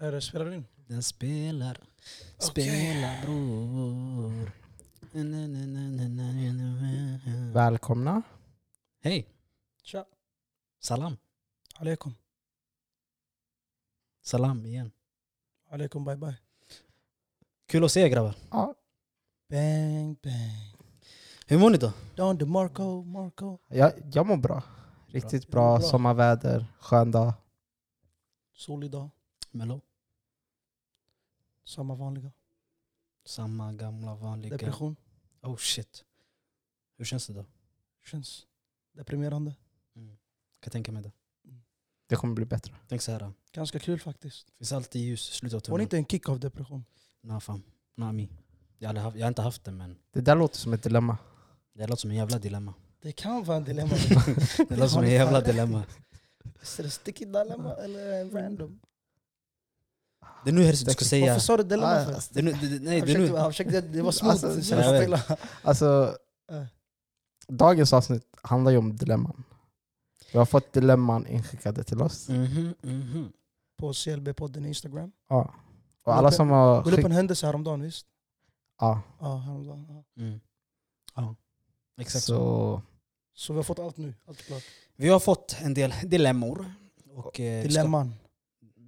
Är det, spelar den in? Den spelar, spelar bror. Na, na, na, na, na, na, na, na. Välkomna. Hej, Tja. salam. Aleikum. Salam igen. Aleikum bye bye. Kul att se er grabbar. Ja, Bang bang. Hur mår ni då? Don DeMarco, Marco. jag, jag mår bra. Riktigt bra, Bra. sommarväder, skön dag. Solig dag. Mello? Samma vanliga. Samma gamla vanliga. Depression. Oh shit. Hur känns det då? Känns deprimerande. Kan tänka mig det. Det kommer bli bättre. Tänk så här. Det Ganska kul faktiskt. finns alltid ljus i slutet av Får ni tunneln. inte en kick av depression? Nah fan. Nah, me. jag, har aldrig haft, jag har inte haft det men Det där låter som ett dilemma. det låter som en jävla dilemma. Det kan vara en dilemma. Det låter som en jävla dilemma. Är det sticky dilemma eller random? Det är nu Herzi du ska säga... Varför sa du dilemma Ah, för? Det är nu, det, det, nej, Han det är försökte, nu. han försökte, alltså, det var smooth. Alltså, det jag kändes vet. stilla. Alltså, Äh. Eh. dagens avsnitt handlar ju om dilemman. Vi har fått dilemman inskickade till oss. Mhm, mhm. På CLB-podden Instagram. Ja. Och Gå upp alla en- som har Gå upp en skickat... händelse häromdagen visst? Ja, Ja, häromdagen. Ja. Mm. Ja, exakt. så... Så vi har fått allt nu. Allt klart. Vi har fått en del dilemmor. Och, eh, vi ska- Dilemman.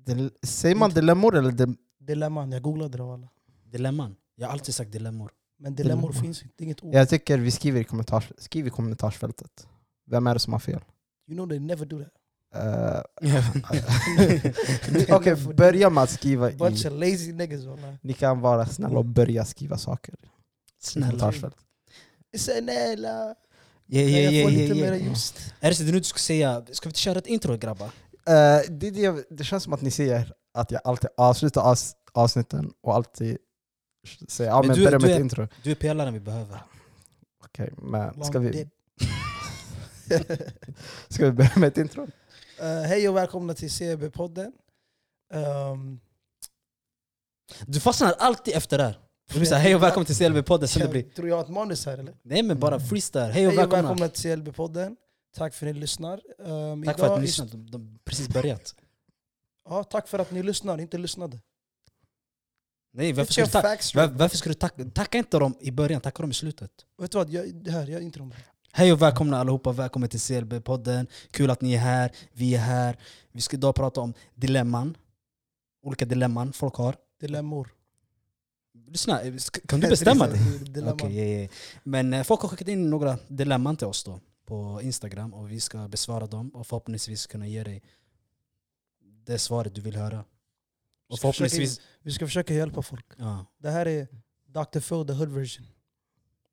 Dil- Säger man dilemmor eller dim- Dilemman, jag googlade det av alla. Dilemman. Jag har alltid sagt dilemmor. Men dilemmor Dilemma. finns inte, det är inget ord. Jag tycker vi skriver i, kommentars, skriv i kommentarsfältet. Vem är det som har fel? You know they never do that. Eh, They Okej, never do börja med att skriva that. Bunch i... of lazy niggas wallah. Ni kan vara snälla och börja skriva saker i Snälla. kommentarsfältet. Snälla. Yeah, Kan yeah, jag få yeah, lite yeah, yeah. mera just? Är det så det nu du ska säga, ska vi inte köra ett intro grabbar? Eh, det, är det, jag- det känns som att ni säger att jag alltid avslutar avs, avsnitten och alltid säger ja Men men du- börja du med ett är- intro. Du är pelaren vi behöver. Okej, men Long ska vi, dick. ska vi börja med ett intro? Mm. Eh, hej och välkomna till CB-podden. Ehm, Du fastnar alltid efter det här. Du blir såhär, hej och välkommen till CLB-podden. Sen det jag- blir, Tror jag har ett manus här eller? nej men bara freestyle. Hej Hej och och välkomna. välkomna till CLB-podden. Tack för att ni lyssnar. Ehm, Tack för idag att är- ni lyssnade. De- De har precis börjat. Ja, tack för att ni lyssnar, inte lyssnade. Nej, varför Get ska your du tacka? facts straight. Varför ska du tacka? Tacka inte dem i början, tacka dem i slutet. Vet du vad, jag, det här, jag är inte de här. Hej och välkomna allihopa, välkommen till CLB-podden. Kul att ni är här, vi är här. Vi ska idag prata om dilemman. Olika dilemman folk har. Dilemmor. Lyssna, sk- kan du bestämma dig? Dilemma. Okej, ja, ja. Men eh, folk har skickat in några dilemman till oss då på Instagram och vi ska besvara dem och förhoppningsvis kunna ge dig det svaret du vill höra. Vi Och ska försöka- förhoppningsvis... Vi ska försöka hjälpa folk. Ja, Det här är Dr. Phil, the hood version.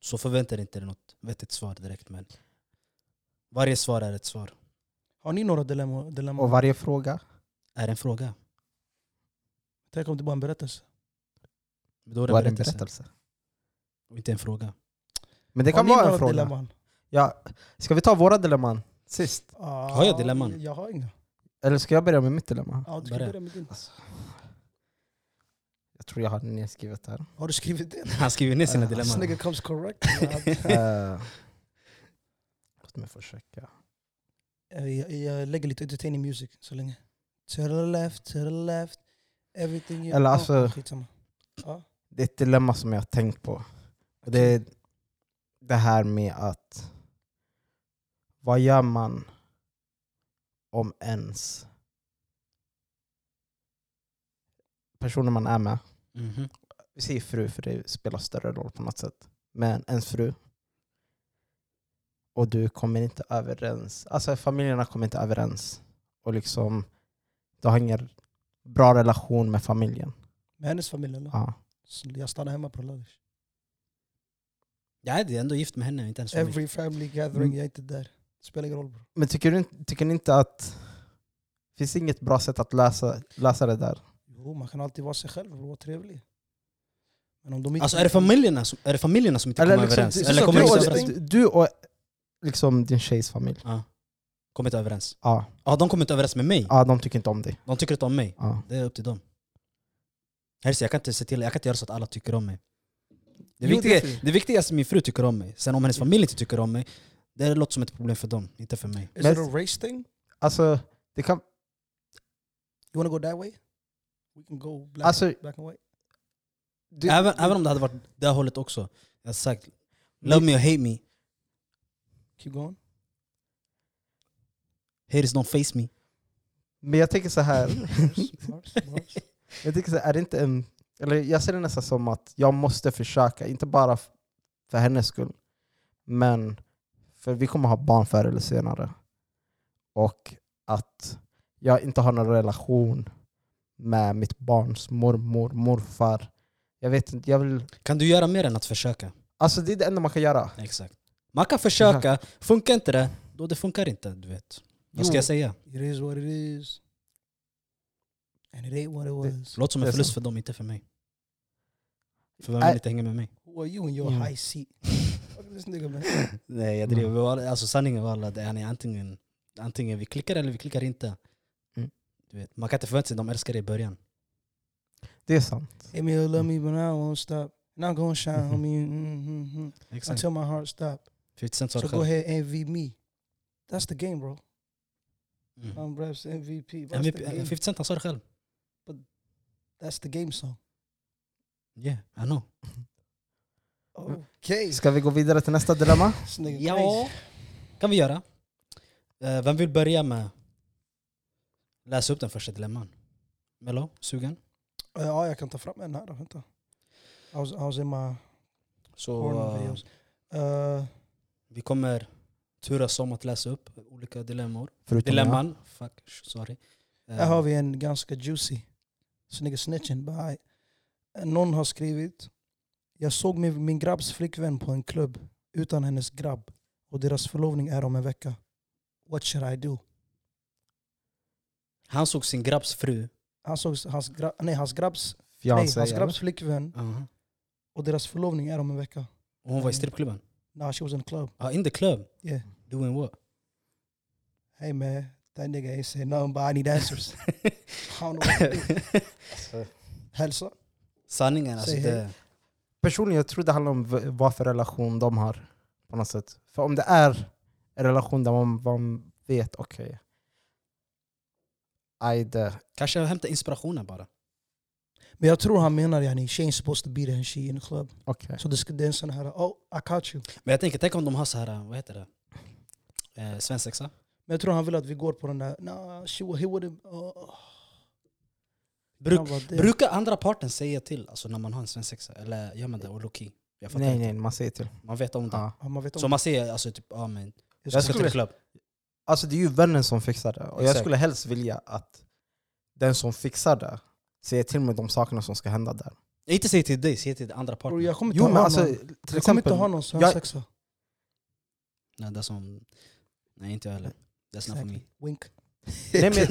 så förvänta dig inte något vettigt svar direkt men varje svar är ett svar. Har ni några dilemma? dilemma? Och varje fråga. Är en fråga. Tänk om det bara är en berättelse. Då är det Var en en berättelse berättelse. och inte en fråga. Men det Har kan ni vara några en fråga. dilemman? Ja, ska vi ta våra dilemman sist? Ah, Har jag dilemman? Jag har inga. Eller ska jag börja med mitt dilemma? Ja, du ska Börja. börja med din. Jag tror jag har nedskrivet det här. Har du skrivit det? Han skriver ner sina Ja, This dilemman. nigga comes correct. Eh, Låt mig försöka. jag, jag, jag lägger lite entertaining music så länge. To the left, to the left. Everything you... Eller Ah, alltså- skitsamma. Det är ett dilemma som jag har tänkt på. Och det är det här med att vad gör man om ens personer man är med, Mhm. vi säger fru för det spelar större roll på något sätt, men ens fru och du kommer inte överens, alltså familjerna kommer inte överens och liksom du har ingen bra relation med familjen. Med hennes familj eller? Ja. Så Jag stannar hemma på lördag. Jag är ändå gift med henne, inte ens familj. Every family gathering, Mm. jag är inte där. Det spelar ingen roll bro. Men tycker, du, inte- tycker ni inte att finns det inget bra sätt att lösa, lösa det där? Jo, man kan alltid vara sig själv och vara trevlig. Men om de inte... Alltså är det familjerna som, är det familjerna som inte kommer överens? du, Eller liksom, så kommer du, inte inte och, överens? du- du och liksom din tjejs familj, Ja. Kommer inte överens. ja, Ja, de kommer inte överens med mig. ja, de tycker inte om dig. De tycker inte om mig. Ja. Det är upp till dem. Herse, jag kan inte se till, jag kan inte göra så att alla tycker om mig. Jo, Det, viktiga, det är fint. det viktiga är att min fru tycker om mig. Sen om hennes familj inte tycker om mig, det låter som ett problem för dem, inte för mig. Is it a race thing? Alltså, det kan, You wanna go that way? We can go black, Alltså- black and white. Du- även, även om det hade varit det hållet också. Jag hade sagt love me or hate me, Keep going. haters don't face me. Men jag tänker så här. Bars, bars, bars. Jag tänker så här, är det inte en... Eller jag ser det nästan som att jag måste försöka, inte bara f- för hennes skull, men för vi kommer ha barn förr eller senare. Och att jag inte har någon relation med mitt barns mormor, morfar. Jag vet inte, jag vill... Kan du göra mer än att försöka? Alltså det är det enda man kan göra. Exakt. Man kan försöka, funkar inte det, då det funkar inte. Du vet. Vad ska Jo. jag säga? It is what it is. And it ain't what it was. Låt som Det är en förlust sant. för dem, inte för mig. För vem Nej. vill inte hänga med mig? Who are you in your Mm. high seat? Fuck this nigga man. Nej jag driver. Walla, Alltså sanningen walla, det är ni antingen, antingen vi klickar eller vi klickar inte. Mm. Du vet, man kan inte förvänta sig att de älskar dig i början. Det är sant. Hit me or love me, but I won't stop. And I'm gonna shine on me mm-hmm. Exakt. until my heart stop. 50 Alltså, Cent sa So det go själv. ahead, envy me. That's the game, bro. Um, Mm. I'm Raps MVP. That's, the MVP, game. 50 Cent han sa det själv. That's the game song. Yeah, I know. Okay. Ska vi gå vidare till nästa dilemma? Oh, This nigga Ja, kan vi göra. Eh, vem vill börja med läsa upp den första dilemman? Mello, sugen? crazy. Uh, ja, jag kan ta fram en här då. Vänta. I was, I was in my Så porn eh, videos. Uh, vi kommer turas om att läsa upp olika dilemmor. Förutom jag. Dilemman, fuck, sh- sorry. Eh, Här har vi en ganska juicy. Så nigga snitchen. but I- Någon har skrivit. Jag såg min, min grabbs flickvän på en klubb utan hennes grabb. Och deras förlovning är om en vecka. What should I do? Han såg sin grabbs fru. Han såg hans, gra, nej, hans, grabbs, nej, Fiancé, hans eller? grabbs flickvän och deras förlovning är om en vecka. Och hon var i strippklubben. Nah, she was in a club. Ah, in the club? Yeah. Doing what? Hey man, that nigga ain't say nothing but I need answers. I don't know what to do. Hälsa. Sanningen alltså. Säg Det, personligen, jag tror det handlar om v- vad för relation de har. på något sätt. För om det är en relation där man, man vet, okej. aj det. kanske hämta inspirationen bara. Men jag tror han menar yani, she ain't supposed to be there and she in a club. Okej. Så det ska- det är en sån här, oh I caught you. Men jag tänker, tänk om de har så här, vad heter det? Eh, svensexa? Men jag tror han vill att vi går på den där, nah, she, wa- he wouldn't... Uh, Bruk, Brukar andra parten säga till alltså, när man har en svensexa? Eller gör man det och low-key? Jag fattar Nej, inte. nej, man säger till. Man vet om det. Ja. Ja, man vet om Så man säger alltså typ, ja men, jag jag ska, ska skulle- till klubb. Alltså det är ju vännen som fixar det. Och jag Exakt. skulle helst vilja att den som fixar det säger till mig de sakerna som ska hända där. Inte säga till dig, säg till den andra parten. Bror, jag kommer inte Jo ha men alltså, någon, till jag kommer inte exempel, ha någon svensexa. Nej, det är som, nej inte jag heller. That's not for me. Exactly. Wink. nej, men, jag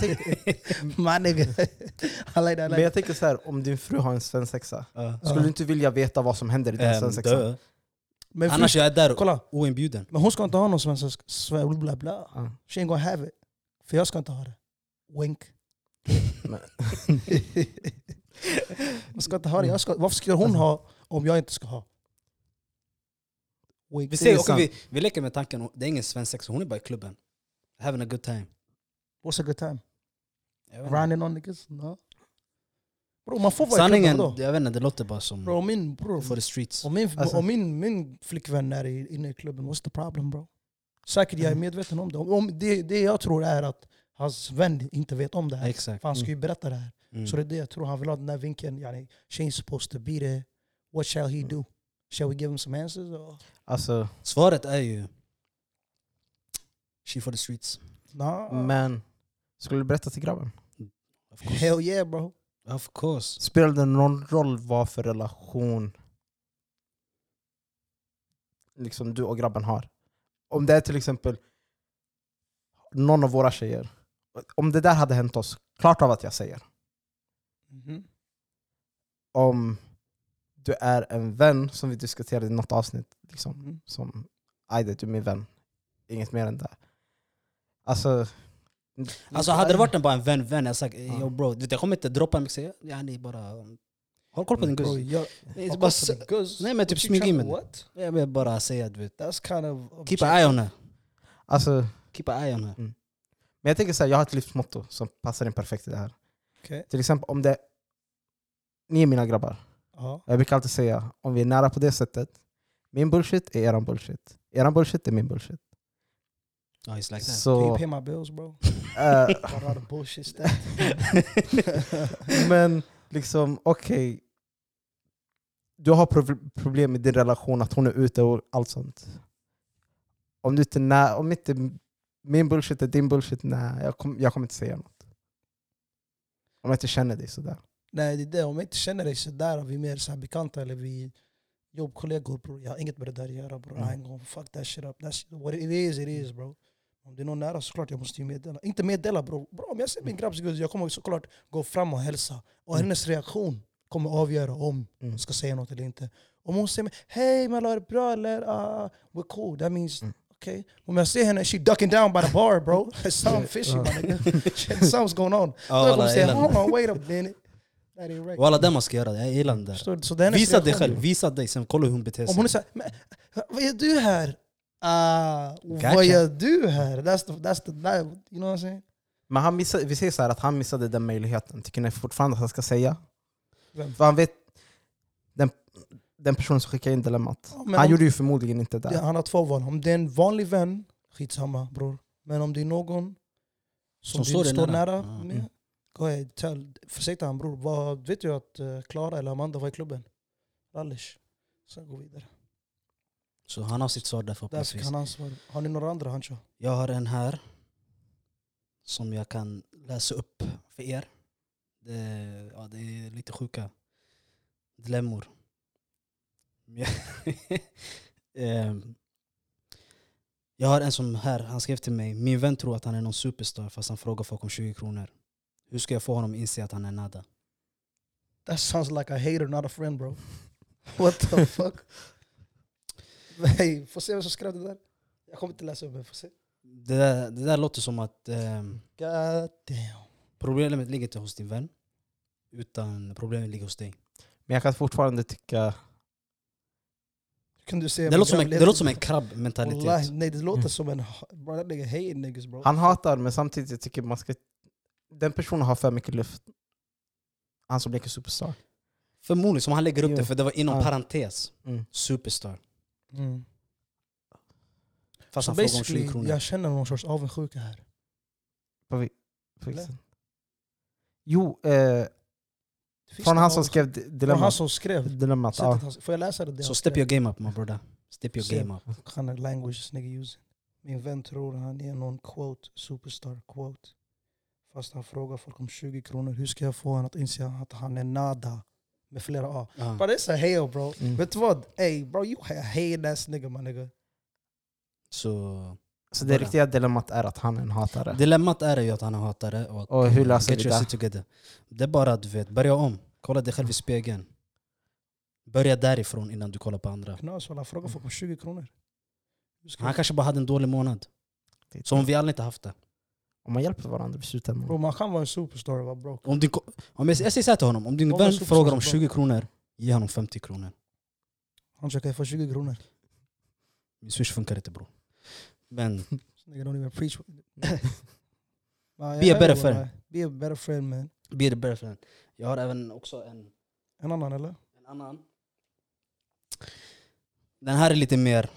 tänker, My nigga. I like that. I men Like. jag tänker så här, om din fru har en svensexa, Ja. Ja. skulle du inte vilja veta vad som händer i din Ehm, svensexa? dö. Men Annars Annars, jag är där kolla, oinbjuden. men hon ska inte ha någon svensexa. Sve- Bla bla. Ja. She ain't gonna have it. För jag ska inte ha det. Wink. Men- Man ska inte ha det. Jag ska, varför ska hon ha om jag inte ska ha? Wink. Vi, Det säger, är okej, sant. vi, vi leker med tanken, det är ingen svensexa, hon är bara i klubben. Having a good time. What's a good time? Jag vet inte. Grinding on niggas? No. Bro, man får vara Sanningen, i klubben då. jag vet inte, det låter bara som Bro, om min, bro, for the streets. om min, Alltså- om min, min flickvän är i- inne i klubben, what's the problem bro? Säkert Mm. jag är medveten om det. Om- Om det, det jag tror är att hans vän inte vet om det här. Exakt. För han ska ju berätta det här. Mm. Så det är det jag tror han vill ha, den där vinkeln. Yani, she ain't supposed to be there. What shall he do? Shall we give him some answers? Or? Alltså, Svaret är ju... She for the streets. Nah. men skulle du berätta till grabben? Of course. Hell yeah bro. Of course. Spelar det någon roll vad för relation liksom du och grabben har? Om det är till exempel någon av våra tjejer. Om det där hade hänt oss, klart av att jag säger. Mm-hmm. Om du är en vän, som vi diskuterade i något avsnitt, liksom, Mhm. som Ajde, du är min vän. Inget mer än det. Alltså, Alltså hade det varit en bara en vän, vän, jag hade sagt Ja. yo bro, du vet, jag kommer inte droppa mig och säga ja, ni bara... um, Håll koll Mm. på din Bro, guzz. jag, Nej, bara s- Nej men typ smyg in med den. What? Jag vill bara säga du vet, That's kind of... keep an eye on her. alltså, Keep an eye on her. men jag tänker så här, jag har ett livsmotto som passar in perfekt i det här. Okej. Till exempel om det ni är mina grabbar. Ja. Jag brukar alltid säga, om vi är nära på det sättet, min bullshit är eran bullshit. Eran bullshit är min bullshit. Ja, it's like that. Can you Så, pay my bills bro? eh, What are the bullshit stuff? men liksom, okej. Du har prov- problem med din relation, att hon är ute och allt sånt. Om, du inte, nä- om inte min bullshit är din bullshit, nej, jag, kom, jag kommer inte säga något. Om jag inte känner dig sådär. Nej det är det, om jag inte känner dig sådär, vi är mer så här bekanta eller vi jobbkollegor bror. Jag har inget med det där att göra bror. I Mm. ain't gonna fuck that shit up. That's what it is, it is bro. Om det är någon nära såklart jag måste ju meddela. Inte meddela bror. Bro, om jag ser min grabbs gud, jag kommer såklart gå fram och hälsa. Och Mm. hennes reaktion kommer avgöra om Mm. jag ska säga något eller inte. Om hon säger hej Mella är det bra eller uh, we're cool, that means Mm. Okay. Om jag ser henne, she ducking down by the bar bro. Something fishy my nigga. Something's going on. Då kommer Walla, jag säga jag hold on, wait a minute. That ain't right. Walla, det man ska göra. Jag gillar den där. Förstår du? Så det är hennes Visa dig reaktion. själv, visa dig. Sen kolla hur hon beter sig. Om hon är såhär, "Men, vad gör du här? Ah, Gotcha. Vad gör du här? That's the, that's the, that, you know what I'm saying? Men han missade, vi säger så här att han missade den möjligheten. Tycker ni fortfarande att han ska säga? Vem? För han vet, den, den personen som skickade in dilemmat, Ja, men han om- gjorde ju förmodligen inte det. Ja, han har två val. Om det är en vanlig vän, skitsamma bror. Men om det är någon som, Som du står dig står nära. Ah, mm. nära, Ja. med, go ahead, tell. Försäkta han bror, vad, vet du att eh, Klara eller Amanda var i klubben? Lallish. Sen gå vidare. Så han har sitt svar där Där fick förhoppningsvis. han ansvar. Har ni några andra Hancho? Jag har en här som jag kan läsa upp för er. Det, ja, det är lite sjuka dilemmor. Ehm, jag har en som här, han skrev till mig. Min vän tror att han är någon superstar fast han frågar folk om 20 kronor. Hur ska jag få honom att inse att han är nada? That sounds like a hater not a friend bro. What the fuck? Hey, får se vem som skrev det där. Jag kommer inte läsa upp det, får se. Det där, det där låter som att ehm, God damn. problemet ligger inte hos din vän. Utan problemet ligger hos dig. Men jag kan fortfarande tycka, Kunde du se Det min låter som en, grabb det låter som en levde? Wallahi, krabbmentalitet. Nej det låter Mm. som en... Bro, that nigga hating niggas bro. han hatar men samtidigt jag tycker man ska, den personen har för mycket luft. Han som leker superstar. Förmodligen, som han lägger upp Jo. det, för det var inom Ja. parentes. Mm. Superstar. Mm. Fast Så han frågar om 20 basically, kronor. jag känner någon sorts avundsjuka här. På vi- på Eller? vilket sätt? Jo, eh, Det finns från någon han som avundsjuka. skrev di- Från han dilemmat. som skrev. dilemmat ja. Sättet han- Får jag läsa det? där Så han step skrev? your game up my brother. Step your Step. game up. kind of language this nigga using. Min vän tror han är någon quote, superstar quote. Fast han frågar folk om 20 kronor. Hur ska jag få honom att inse att han är nada? Med flera A. Ja. Bro, this a hail bro. Mm. Vet du vad? Ey bro, you a hail ass nigga my nigga. Så Så det riktiga dilemmat är att han är en hatare. dilemmat är ju att han är hatare. Och, Och hur löser get vi your det? shit together. Det är bara du vet, börja om. Kolla dig själv i spegeln. Börja därifrån innan du kollar på andra. Knas walla, fråga folk om 20 kronor. Hur ska Han kanske bara hade en dålig månad. Som vi alla inte haft det. Om man hjälper varandra i slutändan. Bro, man kan vara en superstar och vara broke. Om din, ko- om jag, jag säger så här till honom, om din Vad var vän superstar frågar om som 20 kronor, ge honom 50 kronor. Han försöker få 20 kronor. Min swish funkar inte bror. Men This nigga don't even preach. Man, Be a jag better hör, friend. walla. Be a better friend man. be the better friend. Jag har även också en En annan eller? En annan. Den här är lite mer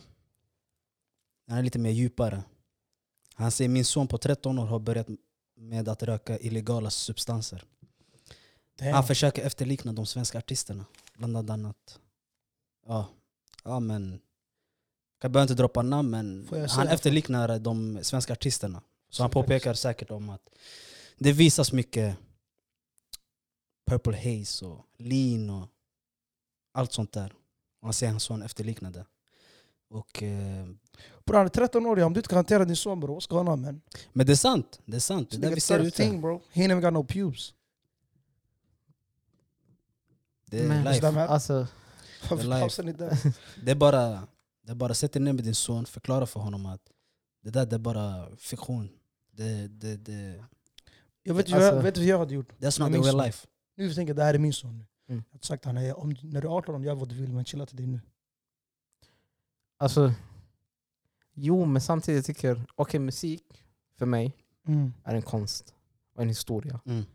den här är lite mer djupare. Han säger min son på 13 år har börjat med att röka illegala substanser. Han Damn. försöker efterlikna de svenska artisterna. Bland annat. Ja, ja men. Jag behöver inte droppa namn men Får jag han säga- efterliknar de svenska artisterna. Så han påpekar säkert om att det visas mycket Purple Haze och Lean och allt sånt där. Och han säger hans son efterliknade. Och, eh, Bro, han är 13 år, ja. om du inte kan hantera din son bror, vad ska han ha man? men det är sant, det är sant. Det This är där nigga vi ser ut 13, bro. He ain't even got no pubes. det är Men- life. Alltså, Varför life. pausar ni där? Det är bara, det är bara sätt dig ner med din son, förklara för honom att det där det är bara fiktion. Det, det, det, Jag vet ju Alltså- jag, vet du vad jag hade gjort. Jag that's not the minns real det. life. Nu tänker jag det här är min son. nu. Mm. Jag har sagt till honom, om, när du är 18 om jag vad du vill, men chilla till dig nu. alltså, jo, men samtidigt tycker jag, okej Mm. musik för mig är en konst och en historia. Mm.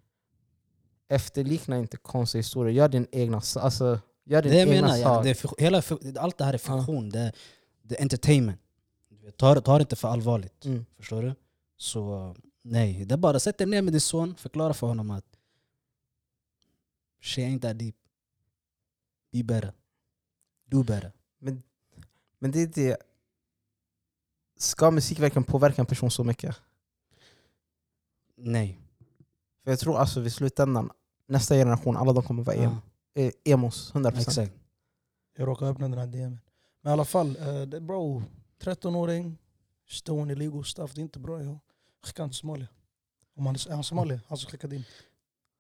efterlikna inte konstiga historier. Gör din egna, s- alltså, gör din Det egna menar jag. sak. Det är fikt- hela, fikt- allt det här är fiktion. Det, är- det är entertainment. Du vet, Ta det, ta det inte för allvarligt. Mm. Förstår du? Så nej, det är bara sätt dig ner med din son. Förklara för honom att shit ain't that deep. Be better. Do better. Men det är det. Ska musik verkligen påverka en person så mycket? Nej. För jag tror alltså vid slutändan, nästa generation, alla de kommer vara em- Ja, eh, emos. 100%. exakt. Jag råkade öppna den här DMen. Men i alla fall, eh, det, bro. 13-åring, stående illegal stuff. Det är inte bra. Jag skickar inte Somalia. Om han är, är han somalier, han som skickade in.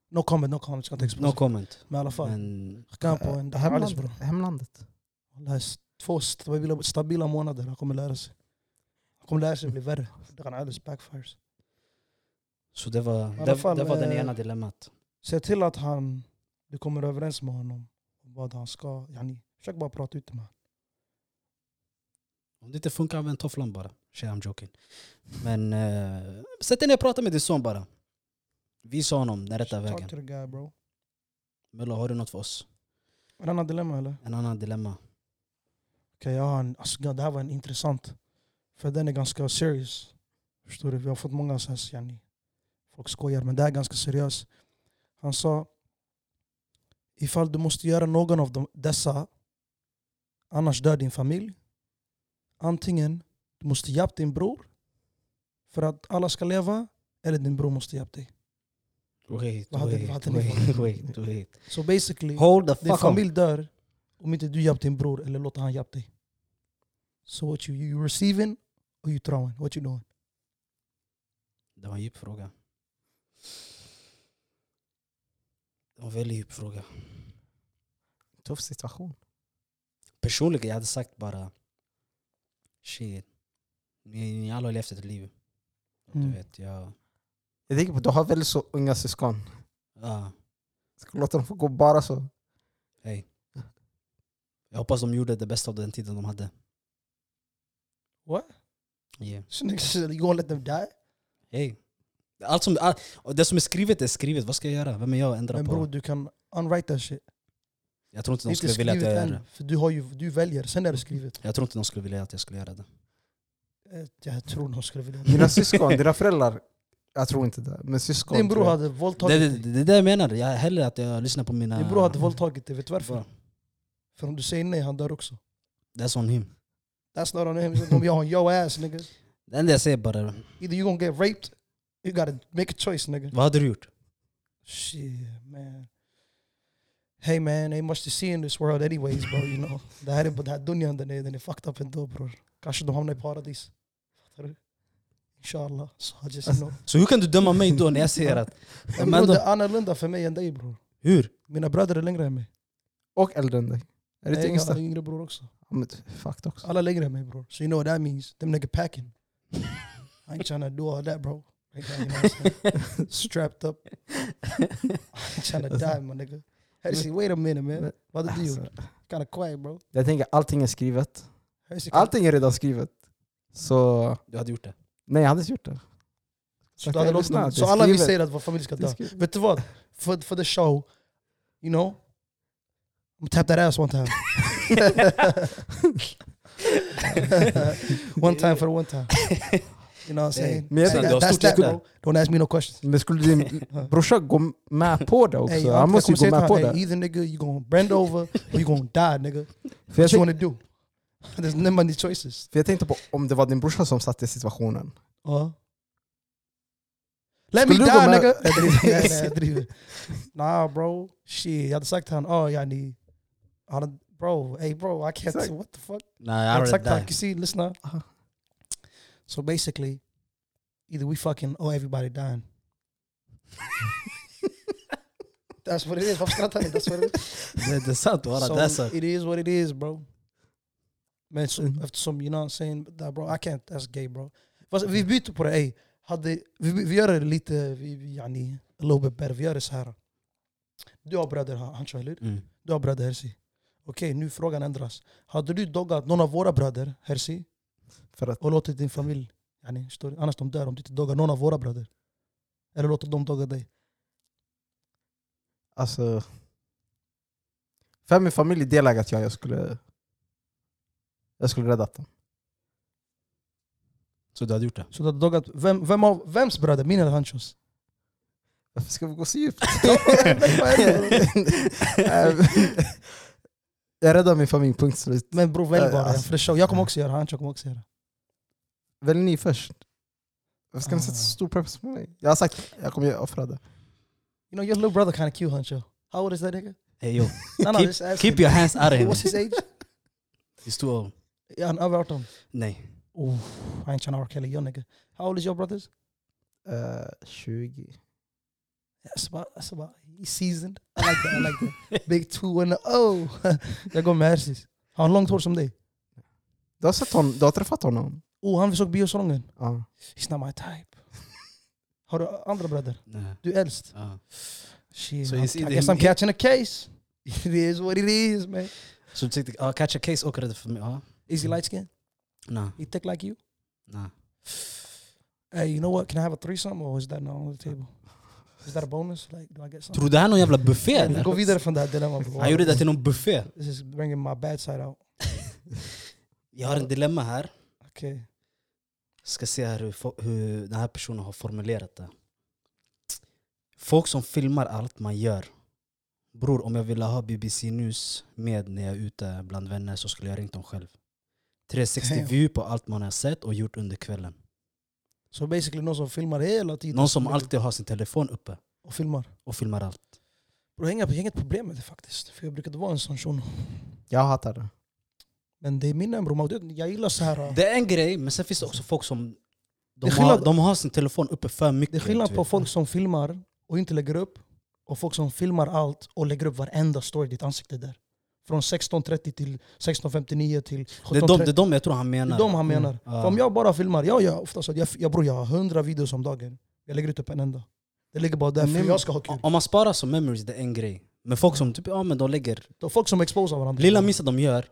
No comment, no comment. Ska inte Mm. No exposa. comment. Men i alla fall, Men skicka han på en Eh, Alice bro. hemlandet, hemlandet. Det här är s- två stabila, stabila månader. Han kommer lära sig. Han kommer lära sig bli värre. Det kan Alice backfires. så det var, alla det, fall, det var den eh, ena dilemmat. Se till att han, du kommer överens med honom. om Vad han ska. Yani, försök bara prata ut med honom. Om det inte funkar, använd tofflan bara. Shit, I'm joking. Men eh, sätt dig ner och prata med din son bara. Visa honom den rätta Talk vägen. to the guy bro. Mello, har du något för oss? En annan dilemma eller? En annan dilemma? Okej, jag har en, alltså, det här var en intressant. För den är ganska serious. Förstår du? Vi har fått många så här, yani, folk skojar, men det här är ganska seriöst. Han sa, ifall du måste göra någon av de, dessa, annars dör din familj. Antingen du måste hjälpa din bror för att alla ska leva, eller din bror måste hjälpa dig. Wait, Vad hade- vad wait, hade ni wait, wait, wait. Så basically, Hold the din fuck up. familj dör om inte du hjälper din bror eller låter han hjälpa dig. So what you, you receiving or you throwing? What you doing? Det var en djup fråga. Det var en väldigt djup fråga. Tuff situation. Personligen, jag hade sagt bara shit. Ni, ni alla har levt ett liv. Mm. Du vet, jag... Jag tänker på du har väldigt så unga syskon. Ah, Ska låta dem få gå bara så? hej. Jag hoppas de gjorde det bästa av den tiden de hade. What? Yeah. So niggas, you gonna let them die? Hey. Allt som, all, och det som är skrivet är skrivet, vad ska jag göra? Vem är jag att ändra Men på? bror du kan unwrite that shit. jag tror Det inte är de inte skulle vilja att skrivet jag gör än, det. för du, har ju, du väljer, sen är det skrivet. Jag tror inte de skulle vilja att jag skulle göra det. Eh, Jag tror någon skulle vilja Dina syskon, dina föräldrar, jag tror inte det. Men syskon Din bror tror jag. hade Det är våldtagit det, Ah. dig. det, är det jag menar, jag hellre att jag lyssnar på mina... Din bror hade våldtagit dig, vet du Bra. varför? För om du säger nej, han dör också. That's on him. That's not on him, it's gonna be on your ass niggas. Det enda jag säger bara, Either you gonna get raped, you gotta make a choice nigga. vad hade du gjort? Shit, man. Hey man, ain't much to see in this world anyways bro, you know. Det här är den här dunjan, den är, den är fucked up ändå bror. Kanske de hamnar i paradis. Fattar du? Inshallah. So I just know. Så hur kan du döma mig då när jag säger att... Men Men bror, då- det är annorlunda för mig än dig bror. Hur? Mina bröder är längre än mig. Och äldre än dig. Är Nej, det inte jag har yngsta? en yngre bror också. Men Fuck också. Alla är längre än mig bror. So you know what that means. Them nigga packing. I ain't trying to do all that bro. Right now, you know what I'm saying? Strapped up. I ain't trying to die my nigga. Hersey, wait a minute man. Vad hade du gjort? Alltså, Kinda quiet bro. jag tänker allting är skrivet. Hersey, Allting är redan skrivet. Så Du hade gjort det. nej, jag hade inte gjort det. Så, Sagt, du hade jag låtit lyssnar, dem- det så är alla vi skrivet. säger att vår familj ska Det är dö. skrivet. Vet du vad? For, for the show, you know? I'm tap that ass one time. one time for one time. You know what I'm saying? Men jag Hey, tror- that- du har that's stort that hjärta. bro. Don't ask me no questions. Men skulle din brorsa gå med på det också? Hey, han måste ju kommer gå säga med på till honom, det. hey, either nigga you gonna bend over or you gonna die nigga. För jag, What you tänk, wanna do? There's not many choices. för jag tänkte på om det var din brorsa som satte situationen. Ja. Let Skulle me du gå die med- nigga! Jag driver, nej, nej, jag driver. Nah bro, shit. Jag hade sagt till honom, oh yani. han hade- Bro, hey bro, I can't, Exakt. what the fuck? Nej, jag Jag hade hade sagt till honom, det. kusin lyssna. Aha. So basically, either we fucking or everybody dying. That's what it is, varför skrattar ni? That's what it is. Det är sant, bara det är So, sant. it is what it is bro. Men så, Mm. eftersom, you know what I'm saying, that bro, I can't, that's gay bro. Fast vi byter på det, ey. Hade, vi, vi gör det lite, vi, vi, yani, a little bit better. Vi gör det så här. Du har bröder, han han kör, eller hur? Mm. Du har bröder, Hersi. Okej, nu frågan ändras. Hade du doggat någon av våra bröder, Hersi, För att, och låtit din familj, yani, förstår du? annars de dör om du inte doggar någon av våra bröder? Eller låter dem dogga dig? Alltså, för min familj är delägat jag, jag skulle jag skulle räddat dem. Så du hade gjort det? Så du hade doggat, vem, vem av, vems bröder? Min eller Hanchos? Varför ska vi gå så djupt? jag räddar min familj, punkt slut. Men bror Ja, välj ja, bara en alltså. för show. Jag kommer också göra det, Hancho kommer också göra det. Välj ni först. Varför ska ni sätta så Ah. stor press på mig? Jag har sagt jag kommer offra det. You know your little brother kinda cute Hancho. How old is that nigga? Hey, yo. No, no, Keep- just ask Eh, Keep him. your hands out of him. What's his age? He's too old. Är han över 18? Nej. Oh, I ain't tryna R. Kelly, your nigga. How old is your brothers? Eh, 20. That's about, that's about, he's seasoned. I like that, I like that. Big two and oh. jag går med Hersis. Har han långt hår som dig? Du har, sett hon, du har träffat honom? Oh, han vi såg biosalongen. Ja. He's not my type. uh, Har du andra bröder? Nej. Ah. Du är äldst? Ja. Shit, So I'm, he's I either- guess I'm catching a case. it is what it is man. Så du tänkte, ja, catch a case åker det för mig? Ja. Is he light skinned? Nej. He thick like you? Nej. Hey, you know what? Can I have a threesome or is that not on the table? Is that a bonus? Like, do I get something? Tror du det här är någon jävla buffé Vi går eller? vidare från det här dilemmat. Han gjorde det till någon buffé. This is bringing my bad side out. Jag har en dilemma här. Okay. Ska se här hur, fo- hur den här personen har formulerat det. Folk som filmar allt man gör. Bror, om jag ville ha BBC News med när jag är ute bland vänner så skulle jag ringt dem själv. 360 Damn. view på allt man har sett och gjort under kvällen. Så basically någon som filmar hela tiden. Någon som alltid har sin telefon uppe Och filmar. och filmar allt. Bro, jag har inga- jag har inget problem med det faktiskt. För jag brukade vara en sån shuno. Jag hatar det. Men det är minnen bror. Man vet, Jag gillar så här. Det, Det är en grej, men sen finns det också folk som Det de, är har, skillnad- de har sin telefon uppe för mycket. typ. är skillnad du på vet. folk som filmar och inte lägger upp. Och folk som filmar allt och lägger upp varenda story i ditt ansikte där. Från 16.30 till 16.59 till 17.30. Det är de, det är de jag tror han Det menar. Mm. är de Mm, han menar. Ja. För om jag bara filmar, jag gör ofta så. att Jag, jag, bror, jag har hundra videos om dagen. Jag lägger ut upp en enda. Det ligger bara där för Men- jag ska ha kul. Om man sparar som memories, det är en grej. Men folk som typ, ja men de lägger... Det är folk som exposar varandra. Lilla minsta de gör,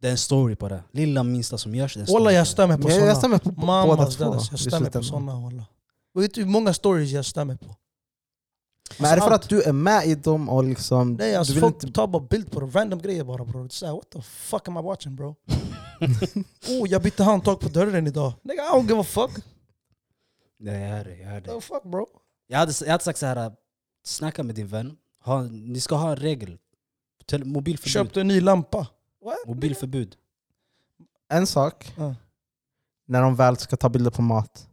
det är en story på det. Lilla minsta som görs, det är en story. Walla jag på det. stämmer på Jag, jag sådana. stämmer på på båda Mamas två. daddas, jag i stämmer på slutändan. sådana walla. Vet du hur många stories jag stämmer på? Men är det för Allt. att du är med i dem och liksom... Nej alltså du vill folk inte- tar bara bild på det. Random grejer bara bror. Det är såhär, what the fuck am I watching bro? oh jag bytte handtag på dörren idag. Nigga I don't give a fuck. Nej, jag hör det, jag hör The det. fuck bro? Jag hade, jag hade sagt så här, snacka med din vän. Ha, ni ska ha en regel. Tele, mobilförbud. Köpte en ny lampa. What? Mobilförbud. En sak, Ja. när de väl ska ta bilder på mat.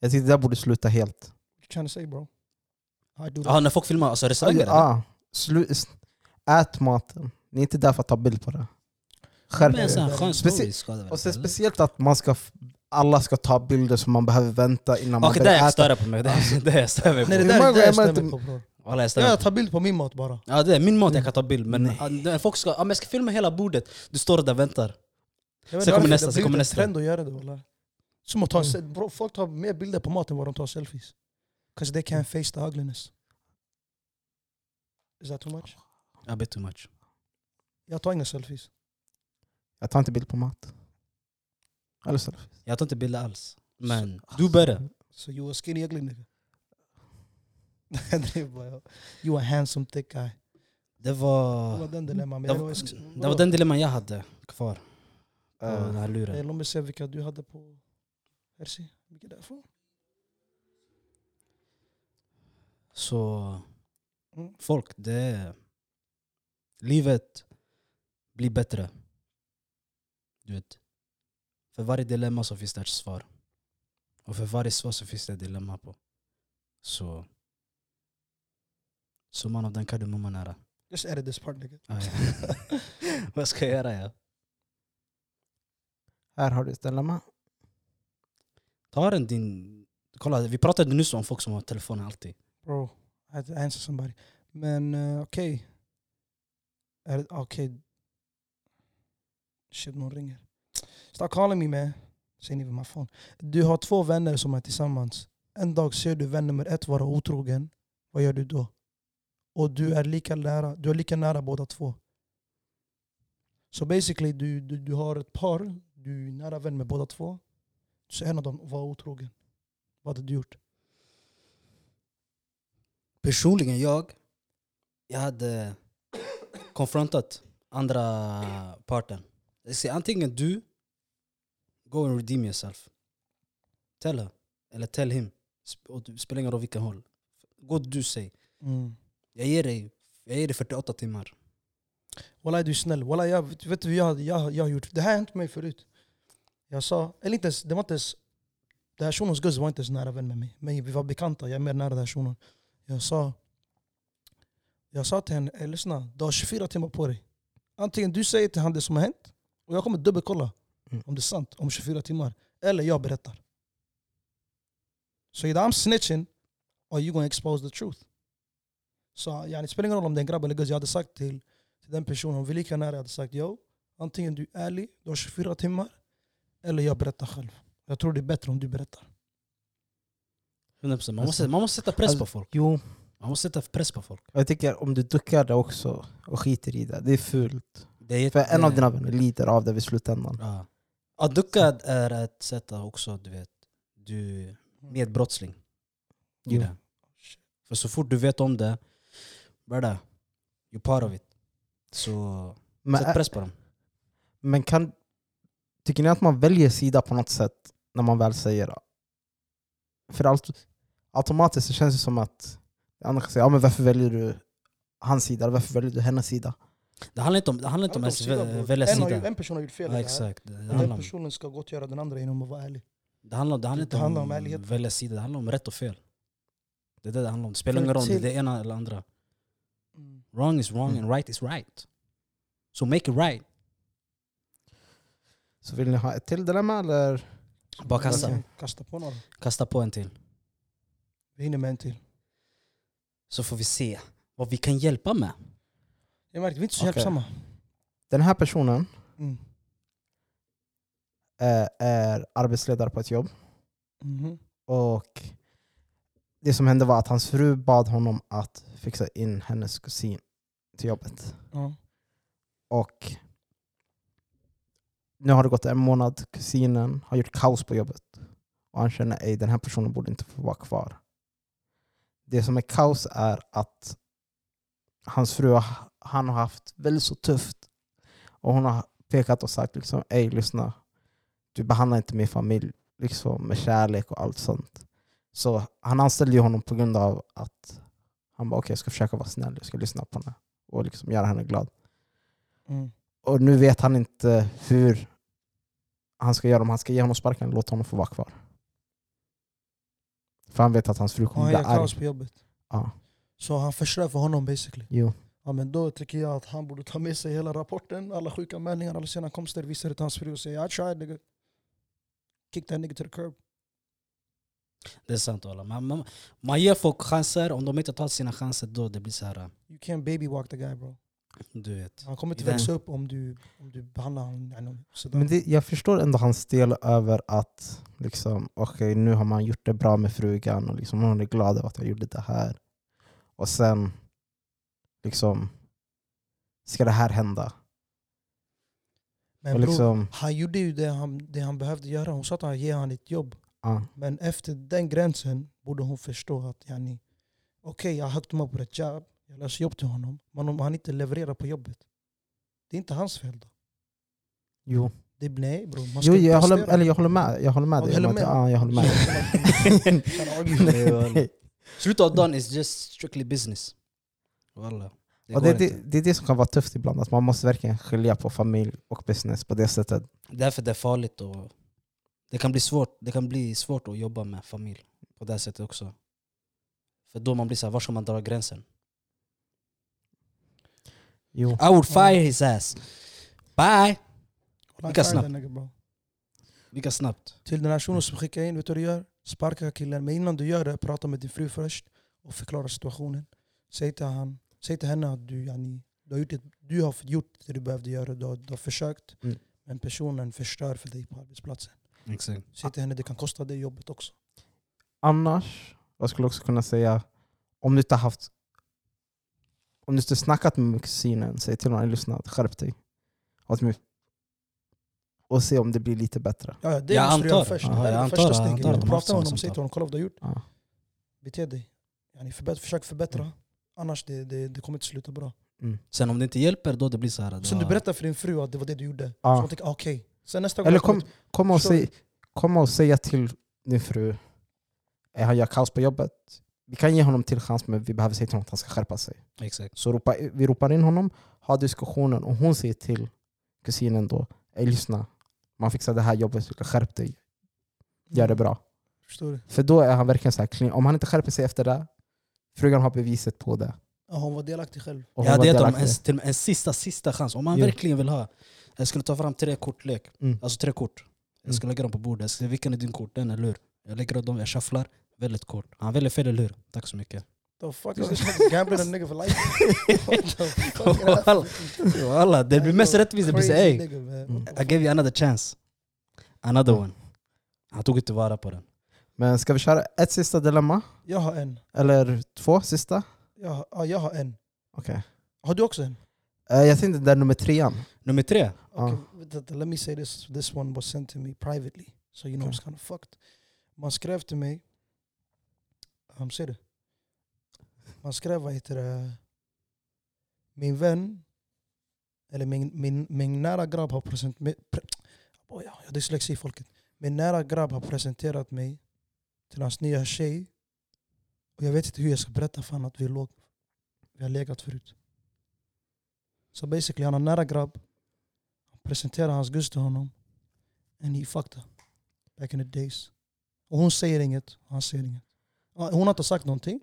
Jag tycker det där borde sluta helt. What you trying to say bro? I do that. Ja, när folk filmar, alltså restauranger. eller? Ah, Ja, ah, slu, ät maten. Ni är inte där för att ta bild på det. Skärp Men en sån er. här skön Speci- story ska det väl Och sen inte, eller? speciellt att man ska, f- alla ska ta bilder som man behöver vänta innan man Okej, det börjar är jag äta. stör på mig. Det är det är jag stör mig på. Nej det Hur där många är det jag gånger har man stämmer inte- på bror. Walla, jag stör mig Jag på. tar bild på min mat bara. Ja, det är min mat jag kan ta bild, men ah, när folk ska, ja, men jag ska filma hela bordet. Du står där och väntar. Jag vet Sen kommer varför, nästa, det sen kommer blir en nästa. trend att göra det walla. Som att ta, bro, folk tar mer bilder på maten än vad de tar selfies. Because they can't Mm. face the ugliness. Is that too much? I bit too much. Jag tar inga selfies. Jag tar inte bild på mat. Eller så. Jag tar inte bilder alls. Men du börjar. So you a skinny ugly nigga. Det är bara, you a handsome thick guy. Det Det var, var den dilemman. men Det jag var- sk- det var den dilemman jag hade kvar på den här Eh, luren. Låt mig se vilka du hade på Herzi. Vilka är det från? Så Mm. folk, det är... Livet blir bättre. Du vet. För varje dilemma så finns det ett svar. Och för varje svar så finns det ett dilemma på. Så... Summan av den kardemumman är det. Just edit this part nigga. Ja, Ah, ja. Vad ska jag göra? Ja? Här har du ett dilemma. Ta den din... Kolla, vi pratade nyss om folk som har telefonen alltid. Bro, I had to answer somebody. Men eh, okej. Är det- Okej. Shit, någon ringer. Stop calling me man. It's ain't even my phone. Du har två vänner som är tillsammans. En dag ser du vän nummer ett vara otrogen. Vad gör du då? Och du är lika nära, du är lika nära båda två. Så basically, du, du, du har ett par, du är nära vän med båda två. Så en av dem var otrogen. Vad hade du gjort? Personligen jag jag hade konfrontat andra parten. Jag säger antingen du, go and redeem yourself. Tell her, eller tell him. Sp- och det Spelar ingen roll vilken håll. Gå du säg. Mm. Jag ger dig, jag ger dig 48 timmar. Walla du är snäll. Walla, jag, vet vet du vad jag, jag, jag har gjort? Det här har hänt mig förut. Jag sa, eller inte ens, det var inte ens, den här shunons guzz var inte ens nära vän med mig. Men vi var bekanta, jag är mer nära den här shunon. Jag sa, jag sa till henne, "Eh, lyssna, du har 24 timmar på dig. Antingen du säger till han det som har hänt, och jag kommer dubbelkolla Mm. om det är sant om 24 timmar. Eller jag berättar. Så so, I'm snitching, or you gonna expose the truth. Så yani, det spelar ingen roll om det är en grabb eller guzz. Jag hade sagt till till den personen, om vi är lika nära, jag hade sagt yo, antingen du är ärlig, du har 24 timmar, eller jag berättar själv. Jag tror det är bättre om du berättar. 100%. Man, Alltså- måste, man måste sätta press Alltså- på folk. Jo, Man måste sätta press på folk. jag tycker om du duckar det också och skiter i det, det är fult. Det är För jätte- en av dina vänner lider av det vid slutändan. Ja. Att ducka är ett sätt att också, du vet, du medbrottsling. i Jo. det. För så fort du vet om det, brada, you're part of it. Så Men, sätt press på dem. men kan, tycker ni att man väljer sida på något sätt när man väl säger det? För allt, automatiskt så känns det som att andra kan säga ja, men varför väljer du hans sida, eller varför väljer du hennes sida? Det handlar inte om, det handlar inte om ens vä- välja en, har ju, sida. en person har gjort fel. i det Ja, här. exakt. Det Och Den handlar, om, personen ska gottgöra den andra genom att vara ärlig. det, handlar, det handlar det handlar inte om om, ärlighet. välja sida, det handlar om rätt och fel. Det är det det handlar om. Det spelar För ingen roll om det är till- det ena eller andra. Wrong is wrong Mm. and right is right. So make it right. Så vill ni ha ett till dilemma eller? Bara kasta, Okej, Kasta på några. kasta på en till. Vi hinner med en till. så får vi se vad vi kan hjälpa med. Jag märker, vi är inte så Okej. hjälpsamma. Den här personen Mm. eh, är arbetsledare på ett jobb Mhm. och det som hände var att hans fru bad honom att fixa in hennes kusin till jobbet. Ja. Och nu har det gått en månad, kusinen har gjort kaos på jobbet. Och han känner att den här personen borde inte få vara kvar. Det som är kaos är att hans fru har- han har haft väldigt så tufft. Och hon har pekat och sagt liksom, ej lyssna, du behandlar inte min familj liksom, med kärlek och allt sånt. Så han anställde ju honom på grund av att han bara okej jag ska försöka vara snäll, jag ska lyssna på henne och liksom göra henne glad. Mm. Och nu vet han inte hur han ska göra, om han ska ge honom sparken eller låta honom få vara kvar. För han vet att hans fru Och kommer han bli gör arg. kaos på jobbet. Ja. Så han förstör för honom basically. Jo. Ja, men då tycker jag att han borde ta med sig hela rapporten, alla sjukanmälningar, alla sina komster, visa det till hans fru och säga I tried nigga. Kick that nigga to the curb. Det är sant alla. Man, man, man ger folk chanser, om de inte tar sina chanser då det blir så här, You can't baby walk the guy bro. du vet. Han kommer inte Den- växa upp om du, om du behandlar honom I know, sådär. Men det, jag förstår ändå hans del över att liksom, okej nu har man gjort det bra med frugan och liksom, hon är glad över att jag gjorde det här. Och sen liksom, ska det här hända? Men och bror, liksom, han gjorde ju det han, det han behövde göra. Hon sa att han ger han ett jobb. ja. Men efter den gränsen borde hon förstå att yani, okej jag har högt mig på ett jobb, jag löser jobb till honom. Men om han inte levererar på jobbet, det är inte hans fel då. Jo, Det blir, nej bror. man ska jo ju jag, håller, prestera. eller jag håller med. Jag håller med Ja, dig. du håller om att- med? Ja, jag håller med. Nej, wallah. Slutet av dagen is just strictly business. Walla. Det, Och går det, inte. det, det är det som kan vara tufft ibland, att man måste verkligen skilja på familj och business på det sättet. Därför det är farligt. Och det, kan bli svårt, det kan bli svårt att jobba med familj på det här sättet också. För då man blir så här, var ska man dra gränsen? Jo. I would fire his ass. Bye! Lika snabbt. Lika snabbt. Till den här shunon som skickar in, vet du vad du gör? Sparka killen, men innan du gör det, prata med din fru först och förklara situationen. Säg till, han, säg till henne att du, yani, du, har gjort det, du har gjort det du behövde göra, du har, du har försökt. Mm. Men personen förstör för dig på arbetsplatsen. Exakt. Säg till henne det kan kosta dig jobbet också. Annars, jag skulle också kunna säga, om du inte har haft om du inte snackat med kusinen, säg till honom lyssnat, skärp dig. Och, typ- och se om det blir lite bättre. Ja, ja, det Jag måste du göra antar det. först. Ja, det är jag det antar första det, jag steget. antar det. Prata med honom, Samtal. säg till honom, kolla vad du har gjort. Ja. Mm. Bete dig. Yani, förbätt, försök förbättra. Annars det, det, det kommer inte sluta bra. Mm. Sen om det inte hjälper, då det blir så här. att Sen det du var- berättar för din fru att det var det du gjorde. Ja. Så hon tänker ah, okej. Sen nästa gång... Eller jag kommer kom, kom, och Förstår du? säg, kom och säga till din fru eh, han gör kaos på jobbet. Vi kan ge honom till chans men vi behöver säga till honom att han ska skärpa sig. Exakt. Så ropa, vi ropar in honom, har diskussionen och hon säger till kusinen då Ey, lyssna, man fixar det här jobbet, skärp dig, till- gör Mm. det bra. Förstår du? För då är han verkligen så här clean. Om han inte skärper sig efter det, frugan har beviset på det. Ja, hon var delaktig själv. Och hon ja, var det är de, delaktig. en, till och med en sista, sista chans. Om man Jo. verkligen vill ha. Jag skulle ta fram tre kortlek. Mm. Alltså tre kort. Mm. Jag skulle lägga dem på bordet. Jag skulle, vilken är din kort? Den, eller hur? Jag lägger upp dem, jag shufflar. Väldigt kort. Han väljer fel, eller hur? Tack så mycket. The fuck is this nigga gambling a nigga for life? What the fuck is that? Walla, walla, det blir mest Yo, rättvist. Det blir så, crazy ey, nigga, man. Mm. I gave you another chance. Another one. Han tog inte vara på den. Men ska vi köra ett sista dilemma? Jag har en. Eller två sista? Jag har, ja, jag har en. Okej. Har du också en? Eh, jag tänkte där nummer trean. Nummer tre. Ja. Okay, vänta, vänta, let me say this. This one was sent to me privately. So you know Okej. it's kind of fucked. Man skrev till mig... Um, ser du? Man skrev, vad heter det? Min vän, eller min, min, min nära grabb har presenterat... Pre, oh ja, jag har dyslexi folket. Min nära grabb har presenterat mig till hans nya tjej. Och jag vet inte hur jag ska berätta för honom att vi låg. Vi har legat förut. Så basically, han har en nära grabb presenterar hans gust till honom. And he fucked her. Back in the days. Och hon säger inget, och han säger inget. Ja, Hon har inte sagt någonting.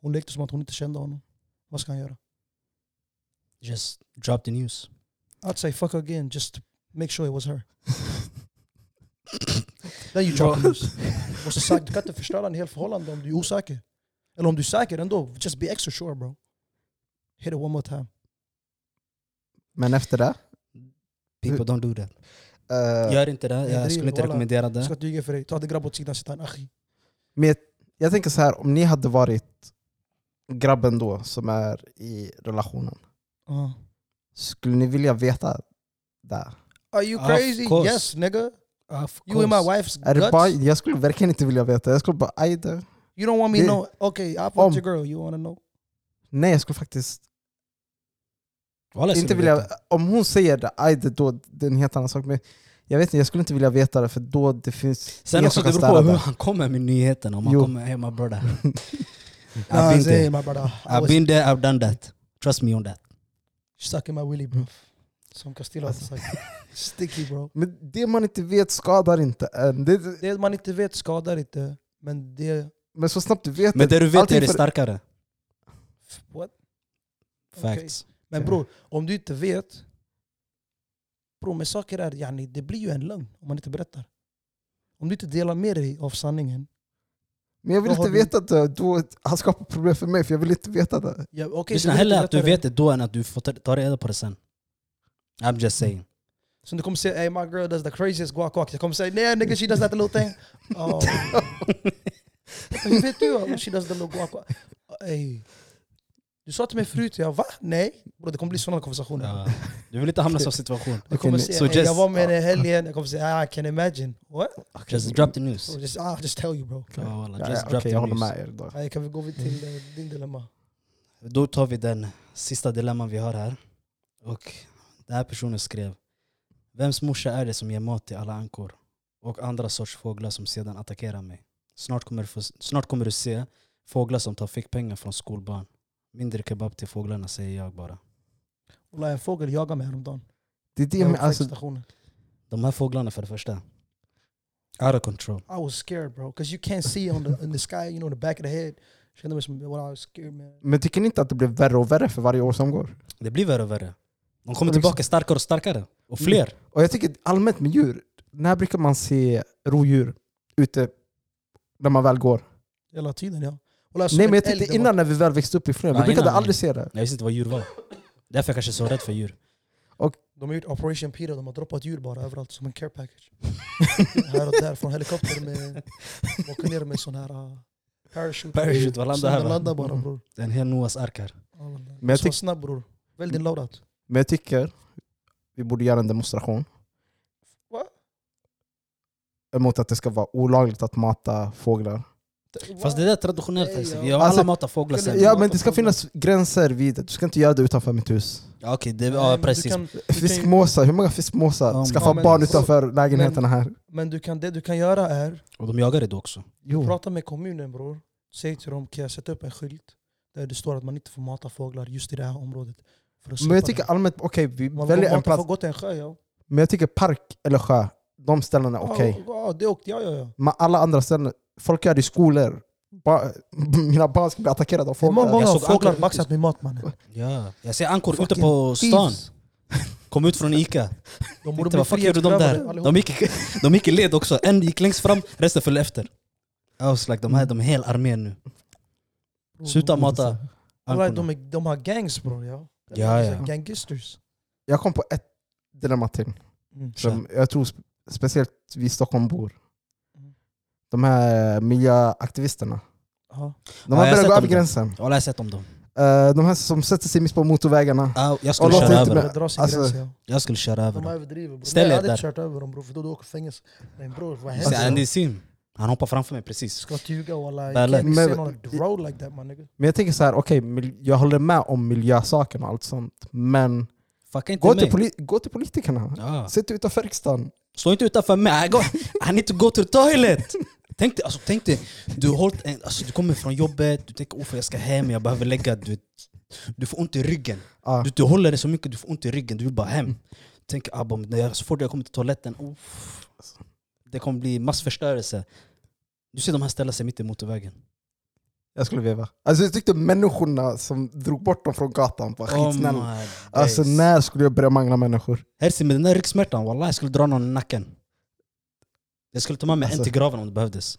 Hon lekte som att hon inte kände honom. Vad ska han göra? Just drop the news. I'd say fuck again, just make sure it was her. Then you drop the news. Och så sagt, du kan inte förstöra en hel förhållande om du är osäker. Eller om du är säker ändå, just be extra sure bro. Hit it one more time. Men efter det? People don't do that. eh, Gör inte det. driver, Jag skulle inte walla. rekommendera Jag det. ska dyga för dig. Ta det grabb åt sidan, sitta en achi. Men jag, jag tänker så här, om ni hade varit grabben då som är i relationen, Ah. Uh. skulle ni vilja veta det? Are you Of crazy? course. Yes nigga. Of You in my wife's Är det guts. bara, jag skulle verkligen inte vilja veta, jag skulle bara aj då. You don't want me to Det- know. Okay, I Om- fucked your girl. You want to know? Nej jag skulle faktiskt Walla, jag inte skulle vilja, veta. om hon säger det, aj då, då, det är en helt annan sak. Men jag vet inte, jag skulle inte vilja veta det för då det finns Sen ingen också, som kan det beror på städa hur det. han kommer med nyheten. Om han Jo. alltså, kommer hemma bröder. Nah, I've been Zay, there. my brother. I I've was been there, I've done that. Trust me on that. sucking my willy, bro. Som Castillo hade Alltså. sagt. Sticky bro. Men det man inte vet skadar inte en. Det, Det man inte vet skadar inte. Men det... men så snabbt du vet Men det du vet allting är det för- starkare. f- What? Okej. Facts. Men Ja. bror, om du inte vet... Bror, med saker är... Yani, det blir ju en lögn om man inte berättar. Om du inte delar med dig av sanningen. Men jag vill Vad har inte du- veta det, då, han skapar problem för mig för jag vill inte veta det. Ja, okay, Lyssna hellre att du vet det då än att du får ta- ta reda på det sen. I'm just saying. Så du kommer säga hey, my girl does the craziest guac guac. Jag kommer säga nej nigga she does that little thing. Oh. Hur vet du om she does the little guac guac? Ey. Du sa till mig förut, jag va? Nej. Bro, det kommer bli sådana konversationer. Ja. Du vill inte hamna i en sån situation. Jag kommer Okej, säga så "Ey, jag just- var med henne i helgen. Jag kommer säga ah, I can imagine. What? Just drop the news. So just, ah, just tell you bro. Okej. Ja, walla, Ja, just ja, drop okej, the jag håller news. med er. Då. Ey, kan vi gå vid till eh, din dilemma? Då tar vi den sista dilemman vi har här. Och den här personen skrev Vems morsa är det som ger mat till alla ankor och andra sorts fåglar som sedan attackerar mig? Snart kommer, du få, snart kommer du se fåglar som tar fickpengar från skolbarn. Mindre kebab till fåglarna säger jag bara. Wallah, en fågel jagade mig häromdagen. Det är det Jag med, var på alltså, vägstationen. De här fåglarna för det första. Out of control. I was scared bro. Cause you can't see on the, in the sky, you know, the back of the head. Kände mig som, well, I was scared man. men tycker ni inte att det blir värre och värre för varje år som går? Det blir värre och värre. De kommer Och liksom- tillbaka starkare och starkare. Och fler. Och jag tycker allmänt med djur, när brukar man se rodjur ute när man väl går? Hela tiden ja. Wallah, såg Alltså, Nej en men jag älg, tänkte det var- innan när vi väl växte upp i Flön, Ja, vi brukade innan, aldrig se det. Jag visste inte vad djur var. Därför jag kanske är så rädd för djur. De har gjort Operation Peter, de har droppat djur bara överallt som en care package. här och där från helikopter med... de Åker ner med sån här uh, parachute. Parachute, vad landar Sen här, de va? landar bara bror. En hel Noas ark här. Ja, wallah. Mm. Men jag Så var tyck- snabb bror. Välj din loadout. Men jag tycker vi borde göra en demonstration. Va? Emot att det ska vara olagligt att mata fåglar. Fast det där är traditionellt Hesse, vi har Alltså, alla matat fåglar sen. Ja men det ska finnas gränser vid det. Du ska inte göra det utanför mitt hus. Ja, Okej, det, Nej, ja, men du precis. kan- du kan ju- Fiskmåsar, hur många fiskmåsar Ja, skaffar ja, men- barn utanför lägenheterna här? Men du kan, det du kan göra är, Och de jagar det också. Jo. prata med kommunen bror. Säg till dem, kan jag sätta upp en skylt där det står att man inte får mata fåglar just i det här området. För att Men jag slippa tycker det. allmänt, okej vi man väljer får en mata plats. För gott i en sjö ja. Men jag tycker park eller sjö, de ställena är okej. Ja, ja, det åkte jag ja, ja. Men alla andra ställen, folk gör det i skolor. Ba mina barn ska bli attackerade av Hur många fåglar. gånger har såg fåglar ankor- baxat min mat mannen? Ja. Jag ser ankor ute Fucking på stan. Thieves. Kom ut från Ica. De Tänkte, vad fuck gjorde de där? allihop. De gick, de gick i led också. En gick längst fram, resten följde efter. I was like, de här de är hel armén nu. Sluta mata Alla, Mm. de, ankorna. Oh, alltså. är- de har gangs bror ja. Ja, Alltså, ja. Gangsters. Jag kom på ett dilemma till. Mm. Som jag tror spe- speciellt vi Stockholmbor. Mm. De här miljöaktivisterna. Ja. Ja, De har jag har börjat sett gå över dem. gränsen. Jag har läst sett om dem. Eh, de här som sätter sig mitt på motorvägarna. Ah, Jag Och skulle låt köra inte över med- dem. Det drar sin alltså, gräns, ja. Jag skulle köra över De dem. överdriver bror. Ställ Nej, Jag er hade där. inte kört över dem bror, för då du åker fängelse. Men bror vad Så, händer? Andy Sim, han hoppar framför mig precis. Ska ljuga walla. Bad You luck. can't say Men- on the road like that my nigga. Men jag tänker så här, okej, mil- jag håller med om miljösaken och allt sånt. Men Fucka inte gå till, mig. poli- gå till politikerna. Ja. Sitt utanför riksdagen. Stå inte utanför mig. I, go, I need to go to the toilet. Tänk dig, alltså, tänk dig du, har hållit en, alltså, du kommer från jobbet, du tänker att jag ska hem, jag behöver lägga... Du, vet, du får ont i ryggen. Ja. Du, du håller det så mycket, du får ont i ryggen, du vill bara hem. Tänk abba, men när jag- så fort jag kommer till toaletten, uff, det kommer bli massförstörelse. Du ser de här ställa sig mitt i motorvägen. Jag skulle veva. Alltså jag tyckte människorna som drog bort dem från gatan var Oh skitsnälla. Oh my alltså days. när skulle jag börja mangla människor? Hersi, med den där ryggsmärtan, wallah, jag skulle dra någon i nacken. Jag skulle ta med mig Alltså. en till graven om det behövdes.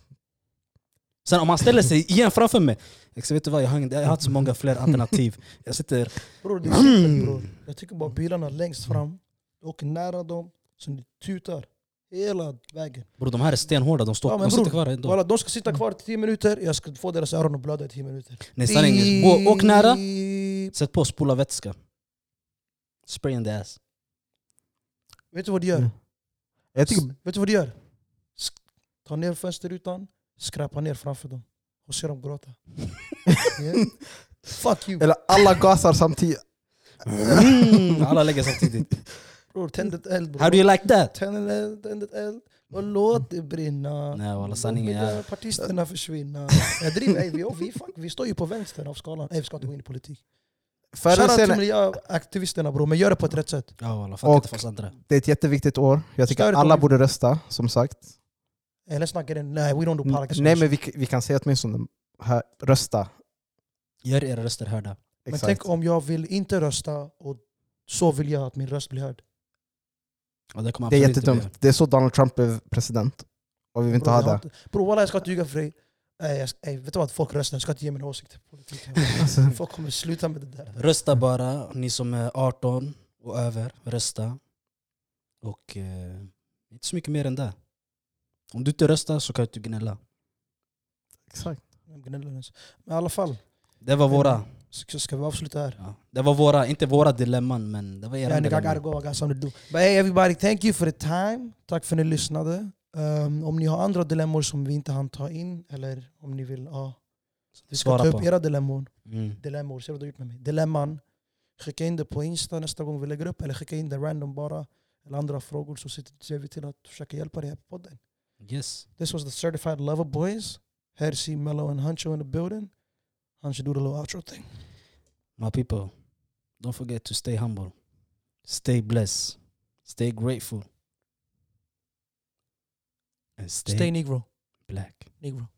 Sen om han ställer sig igen framför mig, jag säger, vet du vad, jag har, ingen- jag har inte så många fler alternativ. Jag sitter... Bror det är Mm. simpelt bror. Jag tycker bara bilarna längst fram, du åker nära dem, så ni tutar hela vägen. Bror de här är stenhårda, de, står, Ja, men de sitter bror, kvar ändå. Walla, de ska sitta kvar i 10 minuter, jag ska få deras öron att blöda i 10 minuter. Nej, sanningen, gå, åk nära, Beep. Sätt på spola vätska. Spray in the ass. Vet du vad de gör? Mm. Jag tycker, Vet du vad de gör? Sk- Ta ner fönsterrutan, skräpa ner framför dem och se dem gråta. Yeah. Fuck you! eller alla gasar samtidigt. Mm, alla lägger samtidigt. Bror, tänd ett eld How do bror. you like that? Tänd ett eld, tänd ett eld och låt det brinna. Nej walla De sanningen vill är... att Partisterna försvinna. Jag driver, ey, vi, vi, fuck, vi står ju på vänstern av skalan. Ey, vi ska inte gå in i politik. Förr eller Shoutout till senare, miljöaktivisterna bror, men gör det på ett rätt sätt. Ja walla, fuck Och- inte fast andra. det är ett jätteviktigt år. Jag tycker Större alla dåligt. borde rösta, som sagt. Ey, let's not get in, nej we don't do politics. Nej men vi, vi kan säga åtminstone här, rösta. Gör era röster hörda. men Exakt. tänk om jag vill inte rösta och så vill jag att min röst blir hörd. Och det kommer det är absolut inte jättedumt. bli- Det är så Donald Trump blev president. Och vi vill inte Bror, ha jag har det. inte- Bror walla jag ska inte ljuga för dig. Ey, jag, ey, vet du vad, folk röstar, jag ska inte ge min åsikt till politiken. Alltså, Folk kommer sluta med det där. Rösta bara, ni som är 18 och över, rösta. Och eh, inte så mycket mer än det. Om du inte röstar så kan du inte gnälla. exakt. De gnäller ens. Men i alla fall, Det var våra. ska, ska vi avsluta här? Ja. Det var våra, inte våra dilemman men det var era Yeah, nigga, I gotta dilemman. go. I got something to do. But hey everybody, thank you for the time. Tack för att ni lyssnade. Um, om ni har andra dilemmor som vi inte hann ta in, eller om ni vill ja, vi ska Svara ta på. upp era dilemmor. Mm. Dilemmor, ser du vad du har gjort med mig? Dilemman. Skicka in det på Insta nästa gång vi lägger upp, eller skicka in det random bara. Eller andra frågor så ser- ser vi till att försöka hjälpa dig här på podden. Yes. This was the certified lover boys. Hersey, Mello and Huncho in the building. Huncho do the little outro thing. My people, don't forget to stay humble, stay blessed, stay grateful, and stay, Stay negro. black. Negro.